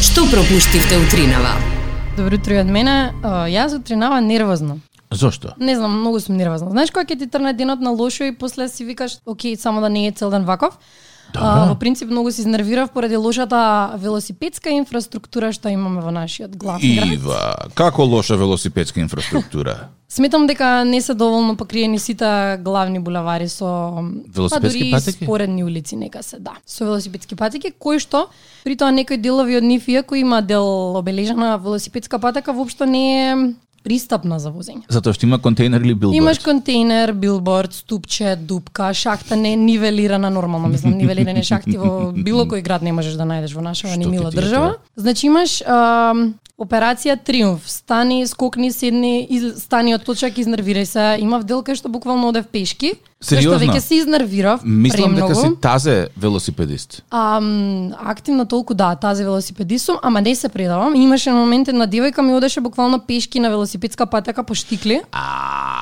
Што пропуштивте утринава? Добро утро и од мене. А, Јас утринава нервозно. Зошто? Не знам, многу сум нервозна. Знаеш кога ќе ти трне денот на лошо и после си викаш, окей, само да не е цел ден ваков. Да. А, во принцип многу се изнервирав поради лошата велосипедска инфраструктура што имаме во нашиот главен град. Ива, како лоша велосипедска инфраструктура? Сметам дека не се доволно покриени сите главни булевари со па Велосипедски дури и патеки? споредни улици нека се, да. Со велосипедски патеки кои што при тоа некои делови од нив иако има дел обележана велосипедска патека воопшто не е пристапна за возење. Затоа што има контейнер или билборд? Имаш контейнер, билборд, ступче, дупка, шахта не е нивелирана нормално, мислам, нивелирани шахти во било кој град не можеш да најдеш во нашава Што ни ти мила ти е држава. Значи имаш ам, операција Триумф. Стани, скокни, седни, из, стани од точак, изнервирај се. Имав дел кај што буквално одев пешки. зашто Сериозно? Веќе се изнервирав Мислам дека премногу. си тазе велосипедист. Ам, активно толку да, тази велосипедист сум, ама не се предавам. Имаше момент една девојка ми одеше буквално пешки на велосипедска патека по штикли. А,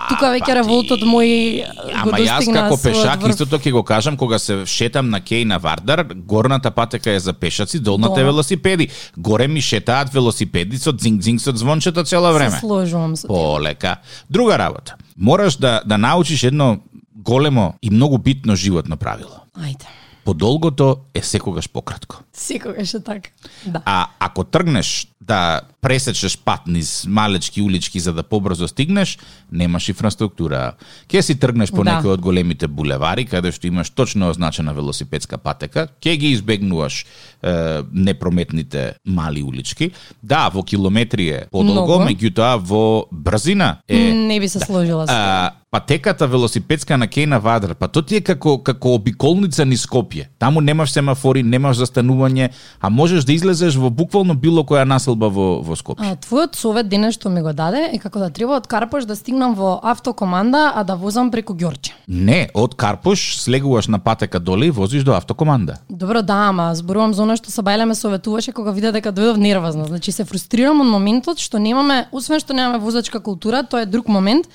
Тука па ти- веќе револтот мој го Ама јас достигна како својот пешак врв. истото ќе го кажам кога се шетам на Кеј на Вардар, горната патека е за пешаци, долната е Долна. велосипеди. Горе ми шетаат велосипеди со дзинг-дзинг со звончето цело време. Се сложувам со теб. Полека. Друга работа. Мораш да да научиш едно големо и многу битно животно правило. Ајде. Подолгото е секогаш пократко. Секогаш е така. Да. А ако тргнеш да пресечеш пат низ малечки улички за да побрзо стигнеш, немаш инфраструктура. Ке си тргнеш по Да. некој од големите булевари каде што имаш точно означена велосипедска патека, ке ги избегнуваш е, непрометните мали улички. Да, во километри е подолго, Многу. меѓутоа во брзина е да. Не би се сложила со а, патеката велосипедска на Кејна Вадар, па тоа ти е како како обиколница низ Скопје. Таму немаш семафори, немаш застанување, а можеш да излезеш во буквално било која населба во во Скопје. А, твојот совет денес што ми го даде е како да треба од Карпош да стигнам во автокоманда, а да возам преку Ѓорче. Не, од Карпуш слегуваш на патека доле и возиш до автокоманда. Добро, да, ама зборувам за она што Сабајле ме советуваше кога виде дека дојдов нервозна. Значи се фрустрирам од моментот што немаме, освен што немаме возачка култура, тоа е друг момент,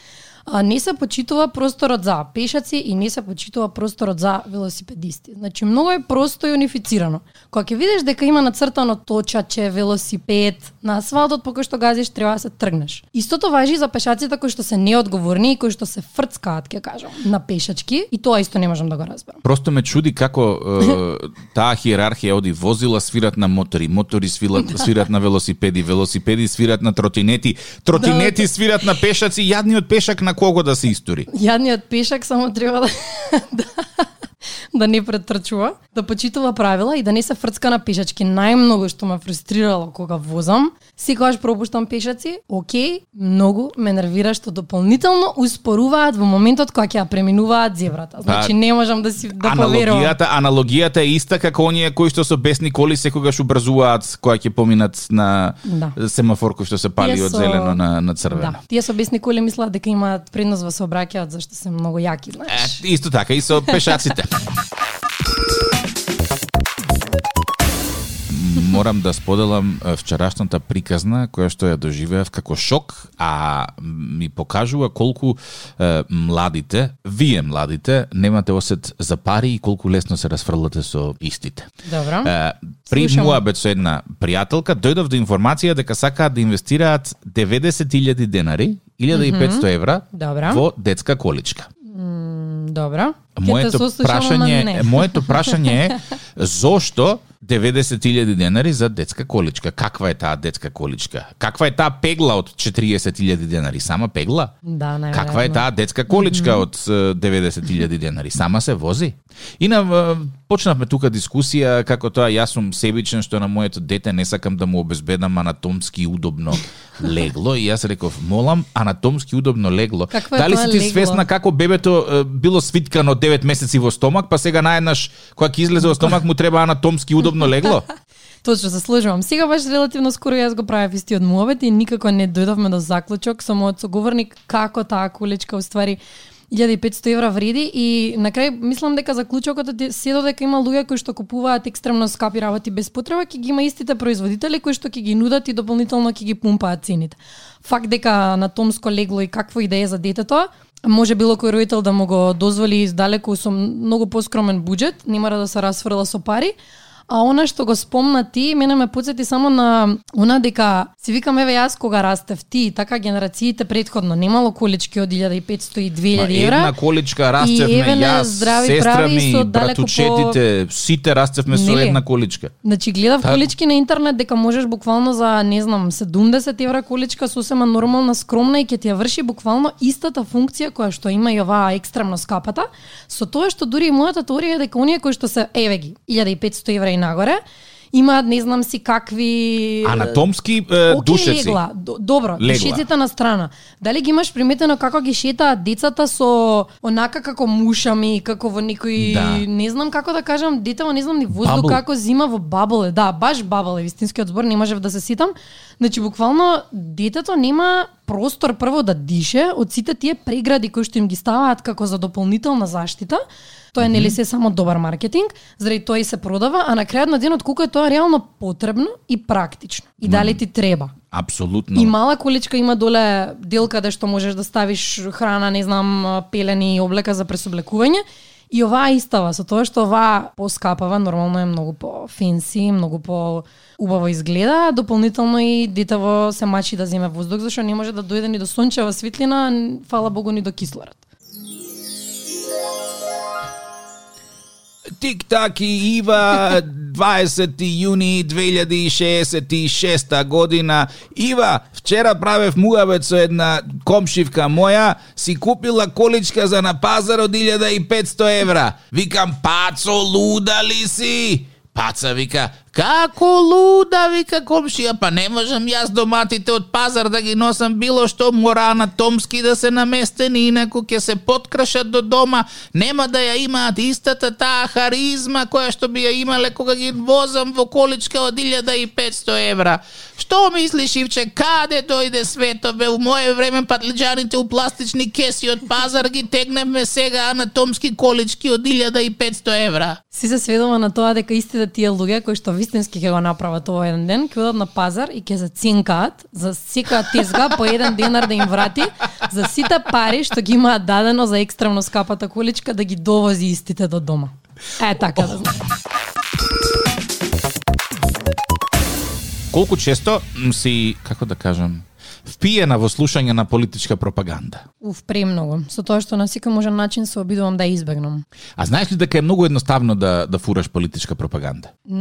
а не се почитува просторот за пешаци и не се почитува просторот за велосипедисти. Значи многу е просто и унифицирано. Кога ќе видиш дека има нацртано точаче, велосипед, на асфалтот по кој што газиш треба да се тргнеш. Истото важи и за пешаците кои што се неодговорни и кои што се фрцкаат, ќе кажам, на пешачки и тоа исто не можам да го разберам. Просто ме чуди како е, таа хиерархија оди возила свират на мотори, мотори свират, свират на велосипеди, велосипеди свират на тротинети, тротинети свират на пешаци, јадниот пешак на кого да се истори. Јадниот пешак само треба да, да, да не претрчува, да почитува правила и да не се фрцка на пешачки. Најмногу што ме фрустрирало кога возам, секогаш пропуштам пешаци, окей, многу ме нервира што дополнително успоруваат во моментот кога ќе ја преминуваат зебрата. Значи не можам да си да поверувам. аналогијата, аналогијата е иста како оние кои што со бесни коли секогаш убрзуваат која ќе поминат на Да. семафор кој што се пали Тие од со- зелено на на Да, црвено. тие со бесни коли мислат дека имаат предност во сообраќајот зашто се многу јаки, Е, знаеш. исто така и со пешаците. Морам да споделам е, вчерашната приказна која што ја доживеав како шок, а ми покажува колку е, младите, вие младите, немате осет за пари и колку лесно се расфрлате со истите. Добро. Е, При Слушам. муабет со една пријателка, дојдов до информација дека сакаат да инвестираат 90.000 денари, 1500 евра, Добра. во детска количка. Добро. Ќе те Моето сослушам, ама прашање, не. моето прашање е зошто 90.000 денари за детска количка? Каква е таа детска количка? Каква е таа пегла од 40.000 денари? Сама пегла? Да, најверојатно. Каква е таа детска количка од е, 90.000 денари? Сама се вози? И на е, почнавме тука дискусија како тоа јас сум себичен што на моето дете не сакам да му обезбедам анатомски удобно легло и јас реков молам анатомски удобно легло. Какво е Дали тоа си ти легло? свесна како бебето е, било свиткано 9 месеци во стомак, па сега наеднаш кога ќе излезе во стомак му треба анатомски удобно легло? Точно, заслужувам. Сега баш релативно скоро јас го правев истиот муавет и никако не дојдовме до заклучок со мојот соговорник како таа колечка уствари 1500 евра вреди и на крај мислам дека заклучокот е се додека има луѓе кои што купуваат екстремно скапи работи без потреба, ќе ги има истите производители кои што ќе ги нудат и дополнително ќе ги пумпаат цените. Факт дека на томско легло и какво и да е за детето, може било кој родител да му го дозволи далеку со многу поскромен буџет, не мора да се расфрла со пари, А она што го спомна ти, мене ме подсети само на она дека си викам еве јас кога растев ти, и така генерациите предходно немало колички од 1500 и 2000 евра. една количка И растевме еве на јас, здрави сестра прави ми, со далеко братучетите, сите растевме со Нели? една количка. Значи гледав Та- колички на интернет дека можеш буквално за не знам 70 евра количка сосема нормална скромна и ќе ти ја врши буквално истата функција која што има и оваа екстремно скапата со тоа што дури и мојата теорија е дека оние кои што се еве ги 1500 евра и нагоре имаат не знам си какви Анатомски е, Океј, душеци. легла, Д- добро, Легла. душеците на страна. Дали ги имаш приметено како ги шетаат децата со онака како мушами, како во некој Да. не знам како да кажам, дете во не знам ни воздух Bubble. како зима во бабле. Да, баш бабле, вистинскиот збор не можев да се ситам. Значи буквално детето нема простор прво да дише од сите тие прегради кои што им ги ставаат како за дополнителна заштита. Тоа е нели се само добар маркетинг, заради тоа и се продава, а на крајот на денот колку е тоа реално потребно и практично. И дали ти треба. Апсолутно. И мала количка има доле дел каде што можеш да ставиш храна, не знам, пелени и облека за пресоблекување. И оваа истава, со тоа што оваа поскапава, нормално е многу по-фенси, многу по-убаво изгледа, а дополнително и детево се мачи да земе воздух, зашто не може да дојде ни до сончева светлина, н- фала богу ни до кислород. Тик-так и Ива, 20. јуни 2066 година. Ива, вчера правев муавет со една комшивка моја, си купила количка за на пазар од 1500 евра. Викам, пацо, луда ли си? Паца вика, како луда, вика комшија, па не можам јас доматите од пазар да ги носам било што мора анатомски да се наместени, инаку ќе се подкрашат до дома, нема да ја имаат истата таа харизма која што би ја имале кога ги возам во количка од 1500 евра. Што мислиш, Ивче, каде дојде светове? У моје време патлиџаните у пластични кеси од пазар ги тегнеме сега анатомски колички од 1500 евра. Си се сведува на тоа дека истите тие луѓе кои што вистински ќе го направат овој еден ден, ќе одат на пазар и ќе заценкаат за секоја тезга по еден денар да им врати за сите пари што ги имаат дадено за екстремно скапата количка да ги довози истите до дома. Е така да знам. колку често м, си, како да кажам, впиена во слушање на политичка пропаганда. Уф, премногу. Со тоа што на секој можен начин се обидувам да ја избегнам. А знаеш ли дека е многу едноставно да да фураш политичка пропаганда? М,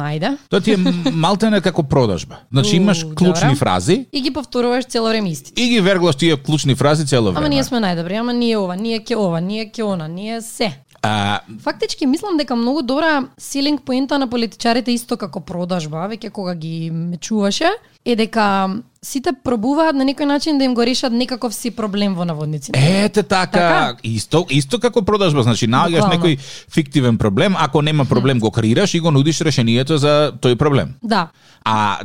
Најде. Тоа ти е м, малтене како продажба. Значи имаш У, клучни добра. фрази И ги повторуваш цело време истите. и ги верглаш тие клучни фрази цело Ама време. ние сме најдобри, ама ние ова, ние ќе ова, ние ќе она, ние се. А, Фактички мислам дека многу добра силинг поента на политичарите исто како продажба, веќе кога ги мечуваше, е дека сите пробуваат на некој начин да им го решат некаков си проблем во наводници. Ете така, Така? исто исто како продажба, значи наоѓаш Буквално. некој фиктивен проблем, ако нема проблем го креираш и го нудиш решението за тој проблем. Да. А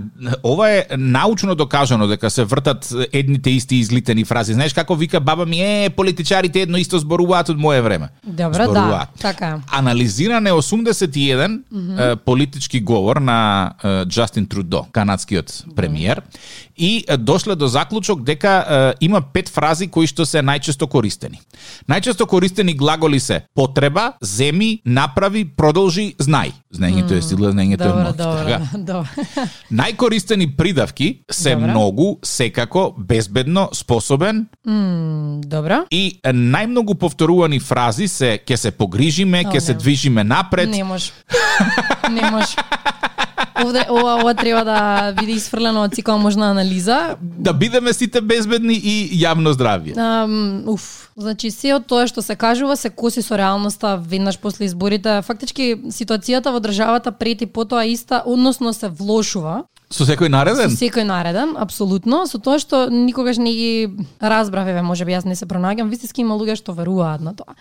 ова е научно докажано дека се вртат едните исти излитени фрази. Знаеш како вика баба ми, е, политичарите едно исто зборуваат од мое време. Добро, да, така е. Анализиран е 81 е, политички говор на е, Джастин Трудо, канадскиот премиер, и е, дошле до заклучок дека е, има пет фрази кои што се најчесто користени. Најчесто користени глаголи се потреба, земи, направи, продолжи, знај. Знаењето е сила, знаењето е Добро, моќ. добро, да. така? добро. Најкористени придавки се Добра. многу, секако, безбедно, способен М, Добро. и најмногу повторувани фрази се ќе се погрижиме, ќе О, се не. движиме напред. Не може. Не може. Овде ова ова треба да биде изфрлено од секоја можна анализа. Да бидеме сите безбедни и јавно Да. здравје. Ам, уф, значи се од тоа што се кажува се коси со реалноста веднаш после изборите. Фактички ситуацијата во државата прети потоа иста, односно се влошува Со секој со нареден? секој нареден, апсолутно, со тоа што никогаш не ги разбрав, еве, можеби јас не се пронаѓам, вистински има луѓе што веруваат на тоа.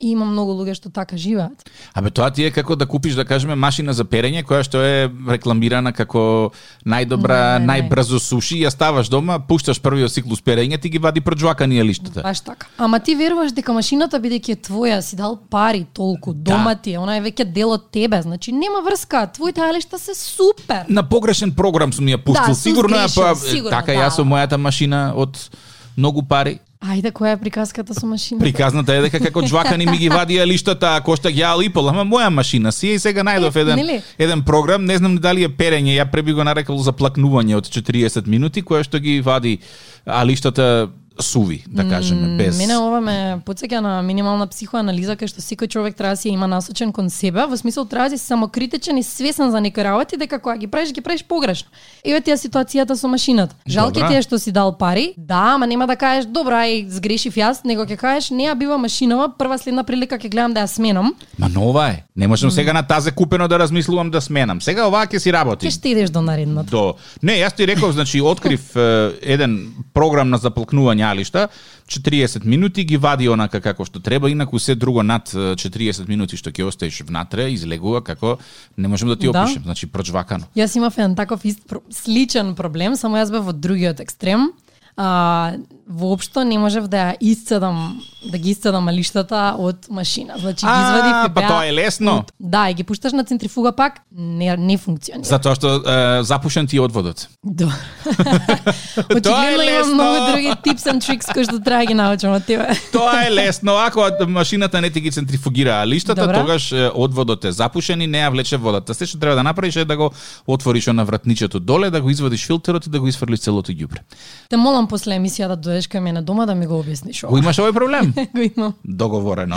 И има многу луѓе што така живеат. Абе тоа ти е како да купиш да кажеме машина за перење која што е рекламирана како најдобра, Не, не, не. најбрзо суши, ја ставаш дома, пушташ првиот циклус перење, ти ги вади проџваканија лиштата. Баш така. Ама ти веруваш дека машината бидејќи е твоја, си дал пари толку, дома ти е, она е веќе дел од тебе, значи нема врска, твоите алишта се супер. на погрешен програм сум ја пуштил. Да, сум сигурно ја сгрешил, па сигурно, така да. јас со мојата машина од многу пари Ајде, која е приказката со машината? Приказната е дека како џвакани ми ги вади лиштата, кошта ги јал и пол, ама моја машина си е и сега најдов Е, еден, нели? еден програм, не знам дали е перење, ја преби го нарекал за плакнување од 40 минути, која што ги вади а лиштата суви, да кажеме, без... Мене ова ме подсеќа на минимална психоанализа кај што секој човек треба да си ја има насочен кон себе, во смисол треба да си самокритичен и свесен за некои работи дека кога ги правиш ги правиш погрешно. Еве ти е ситуацијата со машината. Жал ке Добра. ти е што си дал пари. Да, ама нема да кажеш добра ај сгрешив јас, него ќе кажеш неа бива машинова, прва следна прилика ќе гледам да ја сменам. Ма нова е. Не можам сега на тазе купено да размислувам да сменам. Сега оваа ќе си работи. Ќе штедиш до наредната. До. Не, јас ти реков, значи, открив е, еден програм на заплакнување алишта, 40 минути ги вади онака како што треба, инаку се друго над е, 40 минути што ќе остаеш внатре, излегува како не можам да ти Да. опишем, значи прочвакано. Јас имав еден таков ист, про- сличен проблем, само јас бев во другиот екстрем. А, воопшто не можев да ја исцедам, да ги исцедам алиштата од машина. Значи ги А, извадив и па тоа е лесно. Од- Да, и ги пушташ на центрифуга пак, не, не функционира. Затоа што е, запушен ти е одводот. Да. Тоа е Очигледно има лесно. многу други tips and tricks кои што треба да ги научам од тебе. Тоа е лесно, ако машината не ти ги центрифугира алиштата, Добра. тогаш е, одводот е запушен и не ја влече водата. Се што треба да направиш е да го отвориш на вратничето доле, да го извадиш филтерот и да го изфрлиш целото ѓубре. Те молам после емисија да дојдеш кај мене дома да ми го објасниш Го ова. имаш овој проблем? Го имам. Договорено.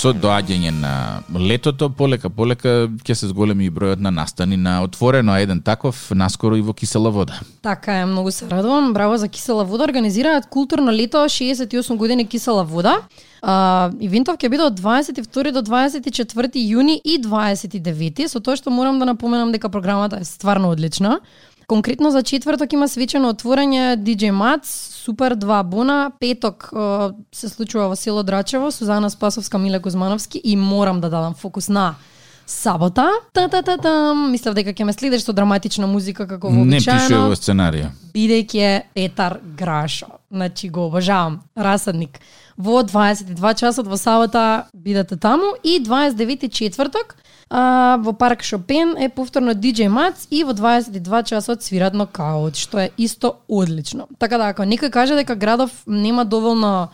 Со доаѓање на летото, полека полека ќе се зголеми и бројот на настани на отворено, а еден таков наскоро и во кисела вода. Така е, многу се радувам. Браво за кисела вода. Организираат културно лето 68 години кисела вода. А, ивентов ќе биде од 22 до 24 јуни и 29 со тоа што морам да напоменам дека програмата е стварно одлична. Конкретно за четврток има свечено отворање DJ Mac, Супер 2 Бона, петок а, се случува во село Драчево, Сузана Спасовска, Миле Кузмановски и морам да дадам фокус на сабота. Та та та та. Мислев дека ќе ме следиш со драматична музика како Не пише вообичаено во сценарија. бидејќи е Петар Грашо. Значи го обожавам, расадник. Во 22 часот во сабота бидете таму и 29 четврток а, во парк Шопен е повторно DJ Мац и во 22 часот свират нокаут, што е исто одлично. Така да, ако некој каже дека градов нема доволно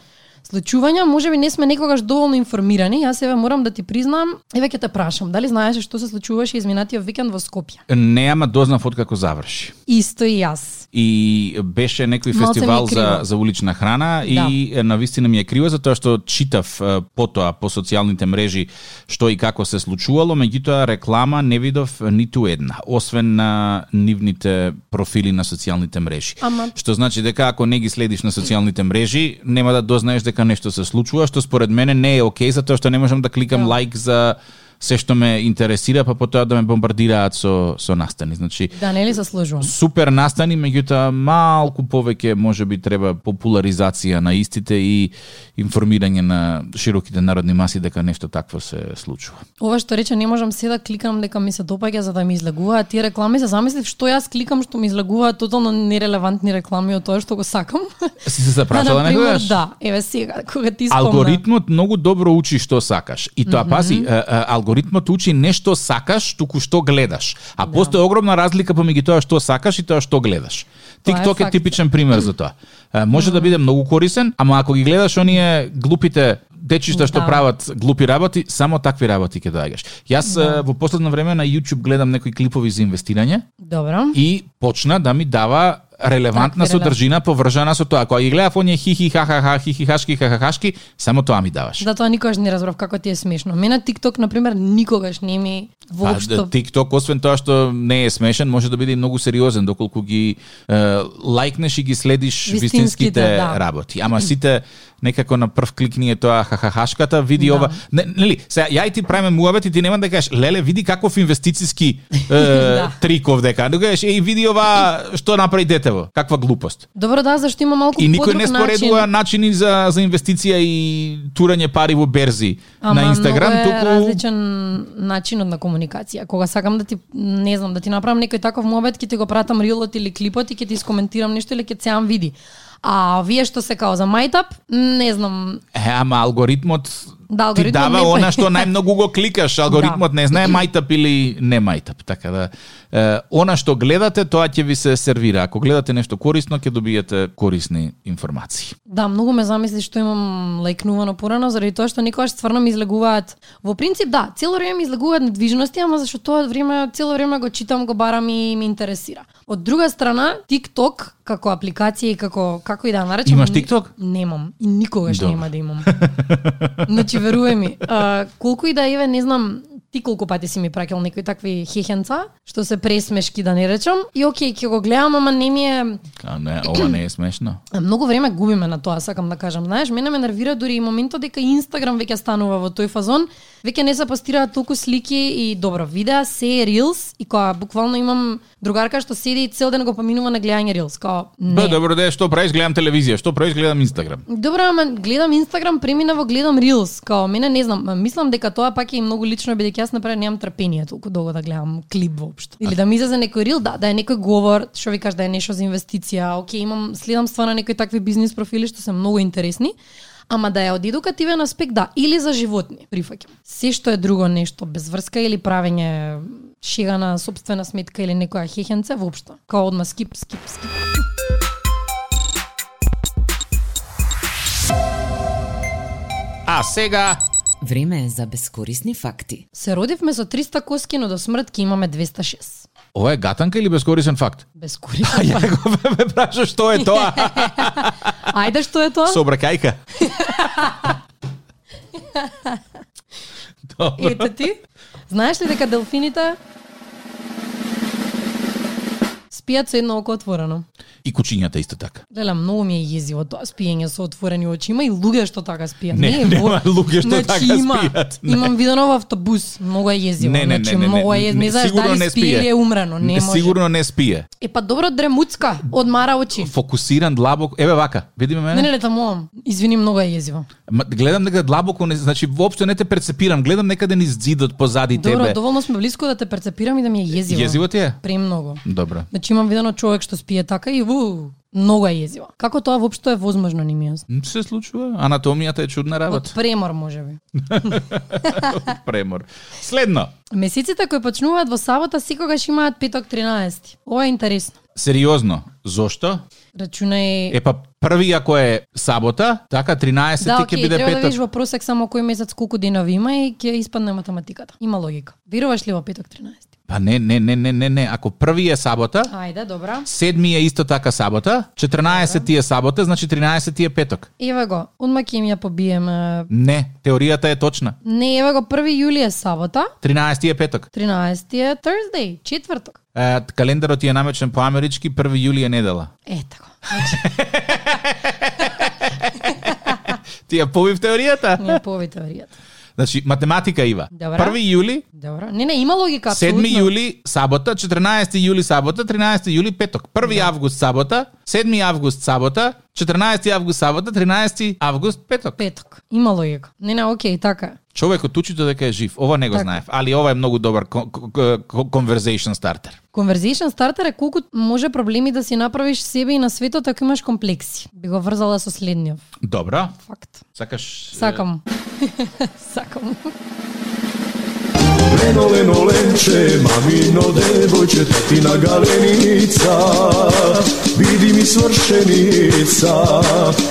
случувања, може би не сме некогаш доволно информирани. Јас еве морам да ти признам, еве ќе те прашам, дали знаеш што се случуваше изминатиот викенд во Скопје? Нема дознав од како заврши. Исто и јас. и беше некој Малце ми е фестивал за криво. за улична храна Да. и е, навистина ми е криво затоа што читав е, потоа по социјалните мрежи што и како се случувало, меѓутоа реклама не видов ниту една, освен на нивните профили на социјалните мрежи. Ама- Што значи дека ако не ги следиш на социјалните мрежи, нема да дознаеш дека нешто се случува, што според мене не е окей затоа што не можам да кликам лайк за се што ме интересира, па потоа да ме бомбардираат со со настани. Значи, Да, нели заслужувам. супер настани, меѓутоа малку повеќе може би треба популаризација на истите и информирање на широките народни маси дека нешто такво се случува. Ова што рече не можам се да кликам дека ми се допаѓа за да ми излегуваат тие реклами, се замислив што јас кликам што ми излегуваат тотално нерелевантни реклами од тоа што го сакам. Си се Да, запрашала например, некогаш? Да, еве сега кога ти спомна. Алгоритмот многу добро учи што сакаш. И тоа пази, е, е, алгоритмот учи не што сакаш, туку што гледаш. А Да. постои огромна разлика помеѓу тоа што сакаш и тоа што гледаш. Тоа е TikTok е факт. типичен пример за тоа. Е, Може да биде многу корисен, ама ако ги гледаш оние глупите дечишта што Да. прават глупи работи, само такви работи ќе доаѓаш. Јас Да. е, во последно време на YouTube гледам некои клипови за инвестирање Добро. и почна да ми дава релевантна Такви релевантни. содржина поврзана со тоа. Кога ги гледав оние хихи ха ха ха хихи хашки ха ха хашки, само тоа ми даваш. Да тоа никогаш не разбрав како ти е смешно. Мене TikTok на пример никогаш не ми Па, воопшто TikTok, освен тоа што не е смешен, може да биде и многу сериозен доколку ги е, лайкнеш и ги следиш Вистинските, вистинските да. работи. Ама сите некако на прв клик ни е тоа хахахашката, види Да. ова. Не, нели, сега ја и ти правиме муабет и ти нема да кажеш леле види каков инвестициски е, Да. трик овдека. Да кажеш еј види ова што направи детево. Каква глупост. Добро да, зашто има малку И никој подруг не споредува начини за за инвестиција и турање пари во берзи Ама на Инстаграм, многу е туку различен начинот на комуникација. Кога сакам да ти не знам, да ти направам некој таков мобет, ќе ти го пратам рилот или клипот и ќе ти искоментирам нешто или ќе цеам види. А вие што се као за мајтап, не знам, Е, ама алгоритмот Да, ти алгоритмот дава не па- Да. она што најмногу го кликаш, алгоритмот не знае мајтап или не мајтап, така да е, она што гледате тоа ќе ви се сервира. Ако гледате нешто корисно ќе добиете корисни информации. Да, многу ме замисли што имам лајкнувано порано заради тоа што никогаш стварно ми излегуваат. Во принцип да, цело време ми излегуваат недвижности, ама зашто тоа време цело време го читам, го барам и ми интересира. Од друга страна, TikTok како апликација и како како и да ја наречам. Имаш ни- TikTok? Немам и никогаш Добро. нема да имам. Значи веруј ми, а, колку и да еве не знам ти колку пати си ми праќал некои такви хехенца, што се пресмешки да не речам, и окей, ќе го гледам, ама не ми е А не, ова не е смешно. Многу време губиме на тоа, сакам да кажам. Знаеш, мене ме нервира дури и моментот дека Инстаграм веќе станува во тој фазон, веќе не се постираат толку слики и добро видеа, се е рилс и која буквално имам другарка што седи и цел ден го поминува на гледање рилс, као не. Бе, добро де, што правиш гледам телевизија, што правиш гледам Инстаграм. Добро, ама гледам Инстаграм, премина во гледам Рилс, као мене не знам, м, мислам дека тоа пак е и многу лично бидејќи јас например немам трпение толку долго да гледам клип воопшто. Или да ми излезе некој рил, да, да е некој говор, што ви кажа да е нешто за инвестиција. Океј, имам следам стварно некои такви бизнис профили што се многу интересни. Ама да е од едукативен аспект, да, или за животни, прифаќам. Се што е друго нешто, без врска или правење шега на собствена сметка или некоја хехенце, воопшто. Као одма скип, скип, скип. А сега Време е за безкорисни факти. Се родивме со 300 коски, но до смрт ќе имаме 206. Ова е гатанка или бескорисен факт? Без корисен А ја факт. го ме праша што е тоа? Ајде што е тоа? Собракајка. Добро. Ете ти. Знаеш ли дека делфините спијат со едно око отворено. И кучињата исто така. Леле, многу ми е језиво тоа спиење со отворени очи. Има и луѓе што така спијат. Не, е нема во- луѓе што Значи, така спијат, не. Имам видено во автобус, многу е језиво. Не, не, значи, не, не, многу е не, језиво. Не, знаеш сигурно дали не спие спие. или е умрено. Не може. Сигурно не спие. Е, па добро, дремуцка, одмара очи. Фокусиран длабоко. Еве вака, види ме Не, мене. не, не, таму. Извини, многу е језиво. Ма, гледам некаде длабоко, не, значи воопшто не те перцепирам, гледам некаде низ зидот позади Добро, тебе. доволно сме близко да те перцепирам и да ми е језиво. Језиво ти е? Премногу. Добро. Значи имам видено човек што спие така и у, многу е језиво. Како тоа воопшто е возможно, не ми е јасно. М, Се случува, анатомијата е чудна Од работа. премор можеби. Премор. Следно. Месеците кои почнуваат во сабота секогаш имаат петок 13. Ова е интересно. да, Сериозно, зошто? Рачунај Е па први ако е сабота, така 13 Да, ќе окей, биде треба да петок. видиш во просек само кој месец колку денови има и ќе испадне математиката. Има логика. Веруваш ли во петок 13? Па не, не, не, не, не, не, ако први е сабота, Ајде, добра. седми е исто така сабота, 14 ти е сабота, значи 13 ти е петок. Еве го, одма ќе им ја побиеме. Не, теоријата е точна. Не, еве го, 1 јули е сабота, 13 ти е петок. 13 е Thursday, четврток. Е, календарот ти е намечен по амерички, 1 јули е недела. Е, така. Ти ја побив теоријата. Ми е пови теоријата. Значи, математика ива. Добра. 1 јули, Добро. Не, не, има логика, 7 апсолутно. јули сабота, 14 јули сабота, 13 јули петок. 1 август сабота, 7 август сабота, 14 август сабота, 13 август петок. Петок. Има логика. Не, не, окей, така. е. Човекот учи тоа дека е жив. Ова не го Така. знаев, али ова е многу добар кон- кон- кон- conversation starter. Conversation стартер е колку може проблеми да си направиш себе и на светот ако имаш комплекси. Би го врзала со следниот Добра. факт. Сакаш е, Сакам. Сакам. Leno, leno, lenče, mamino devojče, tetina galenica, vidi mi svršenica.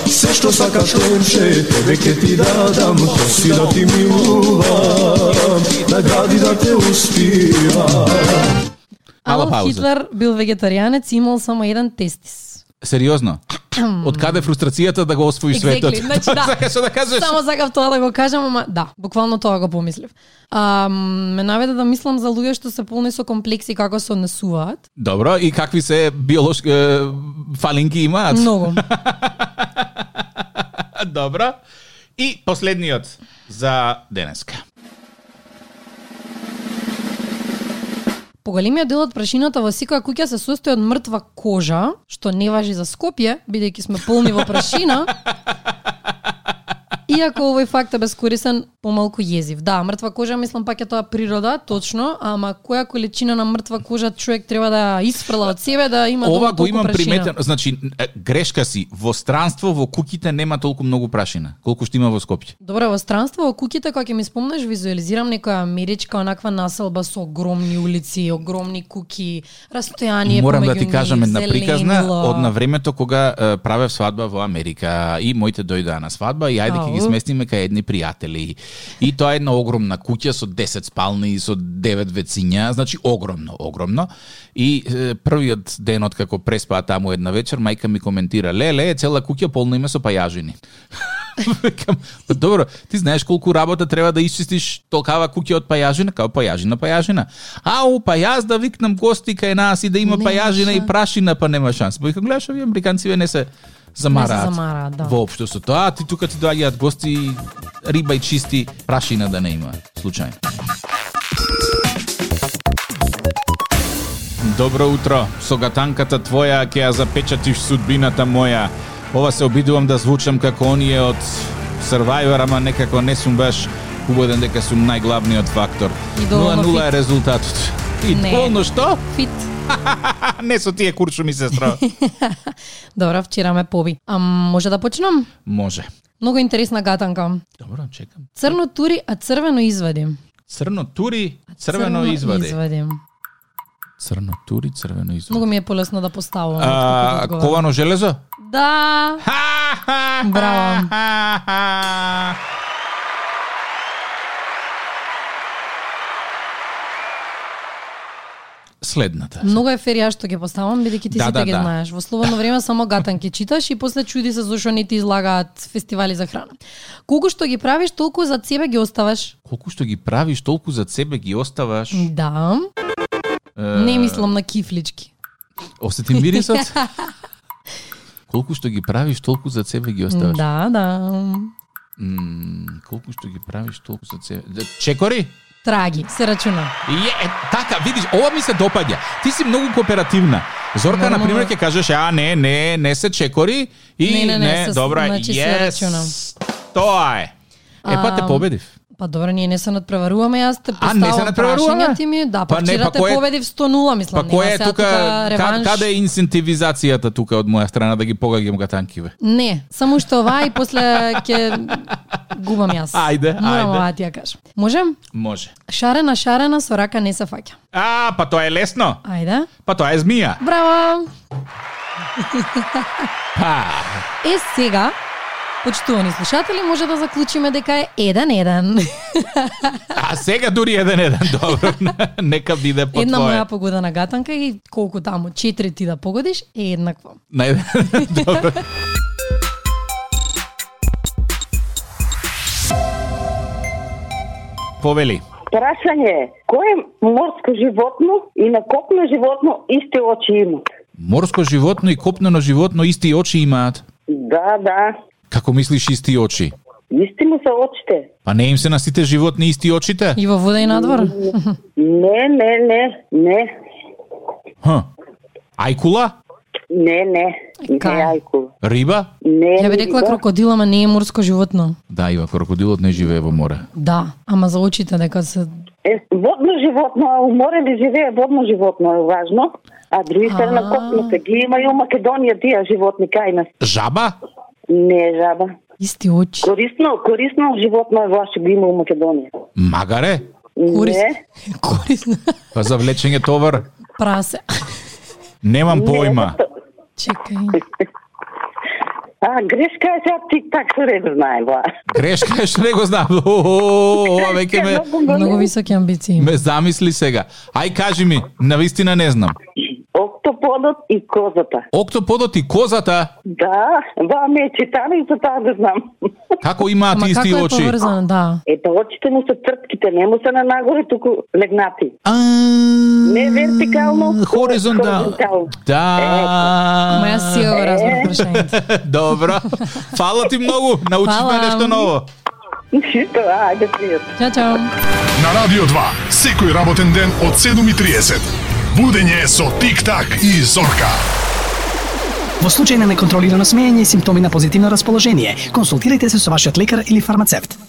Sve što sakaš lenče, tebe ke ti dadam, to si da ti miluvam, nagradi da te uspivam. Мала Адолф пауза. Хитлер бил вегетаријанец и имал само еден тестис. Сериозно? Од каде фрустрацијата да го освои светот? Exactly, значи, да. Сакаш да кажеш? Само сакав тоа да го кажам, ама да, буквално тоа го помислив. А, ме наведе да мислам за луѓе што се полни со комплекси како се однесуваат. Добро, и какви се биолошки е, фалинки имаат? Многу. Добро. И последниот за денеска. Поголемиот дел од прашината во секоја куќа се состои од мртва кожа, што не важи за Скопје, бидејќи сме полни во прашина. Иако овој факт е бескорисен, помалку језив. Да, мртва кожа, мислам пак е тоа природа, точно, ама која количина на мртва кожа човек треба да ја исфрла од себе да има Ова толку го имам прашина? приметено, значи е, грешка си, во странство во куките нема толку многу прашина, колку што има во Скопје. Добро, во странство, во куќите, кога ќе ми спомнеш, визуализирам некоја америчка онаква населба со огромни улици, огромни куки, растојание Морам да помеѓу ти кажам нив, една приказна зеленила. од на времето кога е, правев свадба во Америка и моите дојдоа на свадба и ајде ќе ги Ау. сместиме кај едни пријатели. И тоа е една огромна куќа со 10 спални и со 9 вецинја, значи огромно, огромно. И е, првиот ден од како преспаа таму една вечер, мајка ми коментира: "Леле, цела куќа полна име со пајажини." Викам, па добро, ти знаеш колку работа треба да исчистиш толкава куќа од пајажина, као пајажина, пајажина. Ау, па јас да викнам гости кај нас и да има Нема пајажина и шанс. прашина, па нема шанс. Па викам, гледаш, овие американци не се замараат. замараат, да. Воопшто со тоа, ти тука ти доаѓаат гости риба и чисти, прашина да не има, случајно. Добро утро, со гатанката твоја ќе ја запечатиш судбината моја. Ова се обидувам да звучам како оние од Survivor, ама некако не сум баш убеден дека сум најглавниот фактор. И доволно 0-0 е фит. резултатот. И Не. доволно што? Фит. А, не со тие куршуми, сестро. Добро, вчера ме поби. А може да почнам? Може. Многу интересна гатанка. Добро, чекам. Црно тури, а црвено извади. Црно тури, црвено извади. извади. Црно тури, црвено извади. Многу ми е полесно да поставувам. А, отколку да одговарам. ковано железо? Да. Браво. Следната. Многу е фер ја што ги поставам, бидејќи ти Да, сите да, ги да. знаеш. Во слободно време само гатанки читаш и после чуди се зошто не ти излагаат фестивали за храна. Колку што ги правиш, толку за себе ги оставаш. Колку што ги правиш, толку за себе ги оставаш. Да. Не мислам на кифлички. Осети мирисот? Колку што ги правиш, толку за себе ги оставаш. Да, да. М, колку што ги правиш, толку за себе. Д- Чекори? Траги, се рачуна. Е, е, така, видиш, ова ми се допаѓа. Ти си многу кооперативна. Зорка, на Нормално. пример, ќе кажеш, а, не, не, не се чекори. И, Не, не, не, се- добро е, значи се рачунам. yes, тоа е. Е, па те Ам, победив. Па добро, ние не се надпреваруваме, јас те А, не се поставам надпреваруваме? прашања ти ми. Да, Па па, не, вчера па те кој е- победив 100-0, мислам. Па нема која е сега тука, ка- реванш. каде е инцентивизацијата тука од моја страна да ги погагам гатанкиве? Не, само што ова и после ќе губам јас. Ајде, Морам ајде. оваа ти ја кажам. Можем? Може. Шарена, шарена, со рака не се фаќа. А, па тоа е лесно. Ајде. Па тоа е змија. Браво! Па, Е, сега, почитувани слушатели, може да заклучиме дека е 1-1. а сега дури еден еден, добро. Нека биде по Една твое. моја погодена гатанка и колку таму, 4 ти да погодиш, е еднакво. Нај... Добро. Повели. Прашање е, кое морско животно и на копно животно исти очи имат? Морско животно и копнено животно исти очи имаат. Да, да, Како мислиш исти очи? исти му се очите. Па не им се на сите животни исти очите? И во вода и надвор. Не, не, не, не, Ха. Ајкула? не, не, не, Кај? ајко. Риба? Не, да. Ја би рекла крокодил, ама не е морско животно. Да, Ива, крокодилот не живее во море. Да, ама за очите дека се... Е, водно животно, а у море ли живее водно животно е важно, а други се на копно се ги има и у Македонија тие животни кај нас. Жаба? Не, жаба. Исти очи. Корисно, корисно животно е ваше ги има у Македонија. Магаре? Корис... Не, Корисно. Па за влечење товар? Прасе. Немам појма. Чекај. а грешка е сега ти так се ред знае ба. Грешка е што не го знам. О, Ова веќе ме... Многу високи амбиции. Ме замисли сега. Ај кажи ми, навистина не знам. Октоподот и козата. Октоподот и козата, Да, ба ме е читана и за таа да знам. како имаат Ама исти како е очи? поврзано, да. Епа очите му се тртките, не му се на нагоре, туку легнати. А, Не вертикално, Хоризонтално. хоризонтално. Ама Да. јас си го разбрав прашањето. Добро. Фала ти многу. Научивме Фала. нешто ново. Чисто, ајде пријат. Чао, чао. на Радио 2, секој работен ден од 7.30. Будење со Тик-так и Зорка. Во случај на неконтролирано смеење и симптоми на позитивно расположение, консултирайте се со вашиот лекар или фармацевт.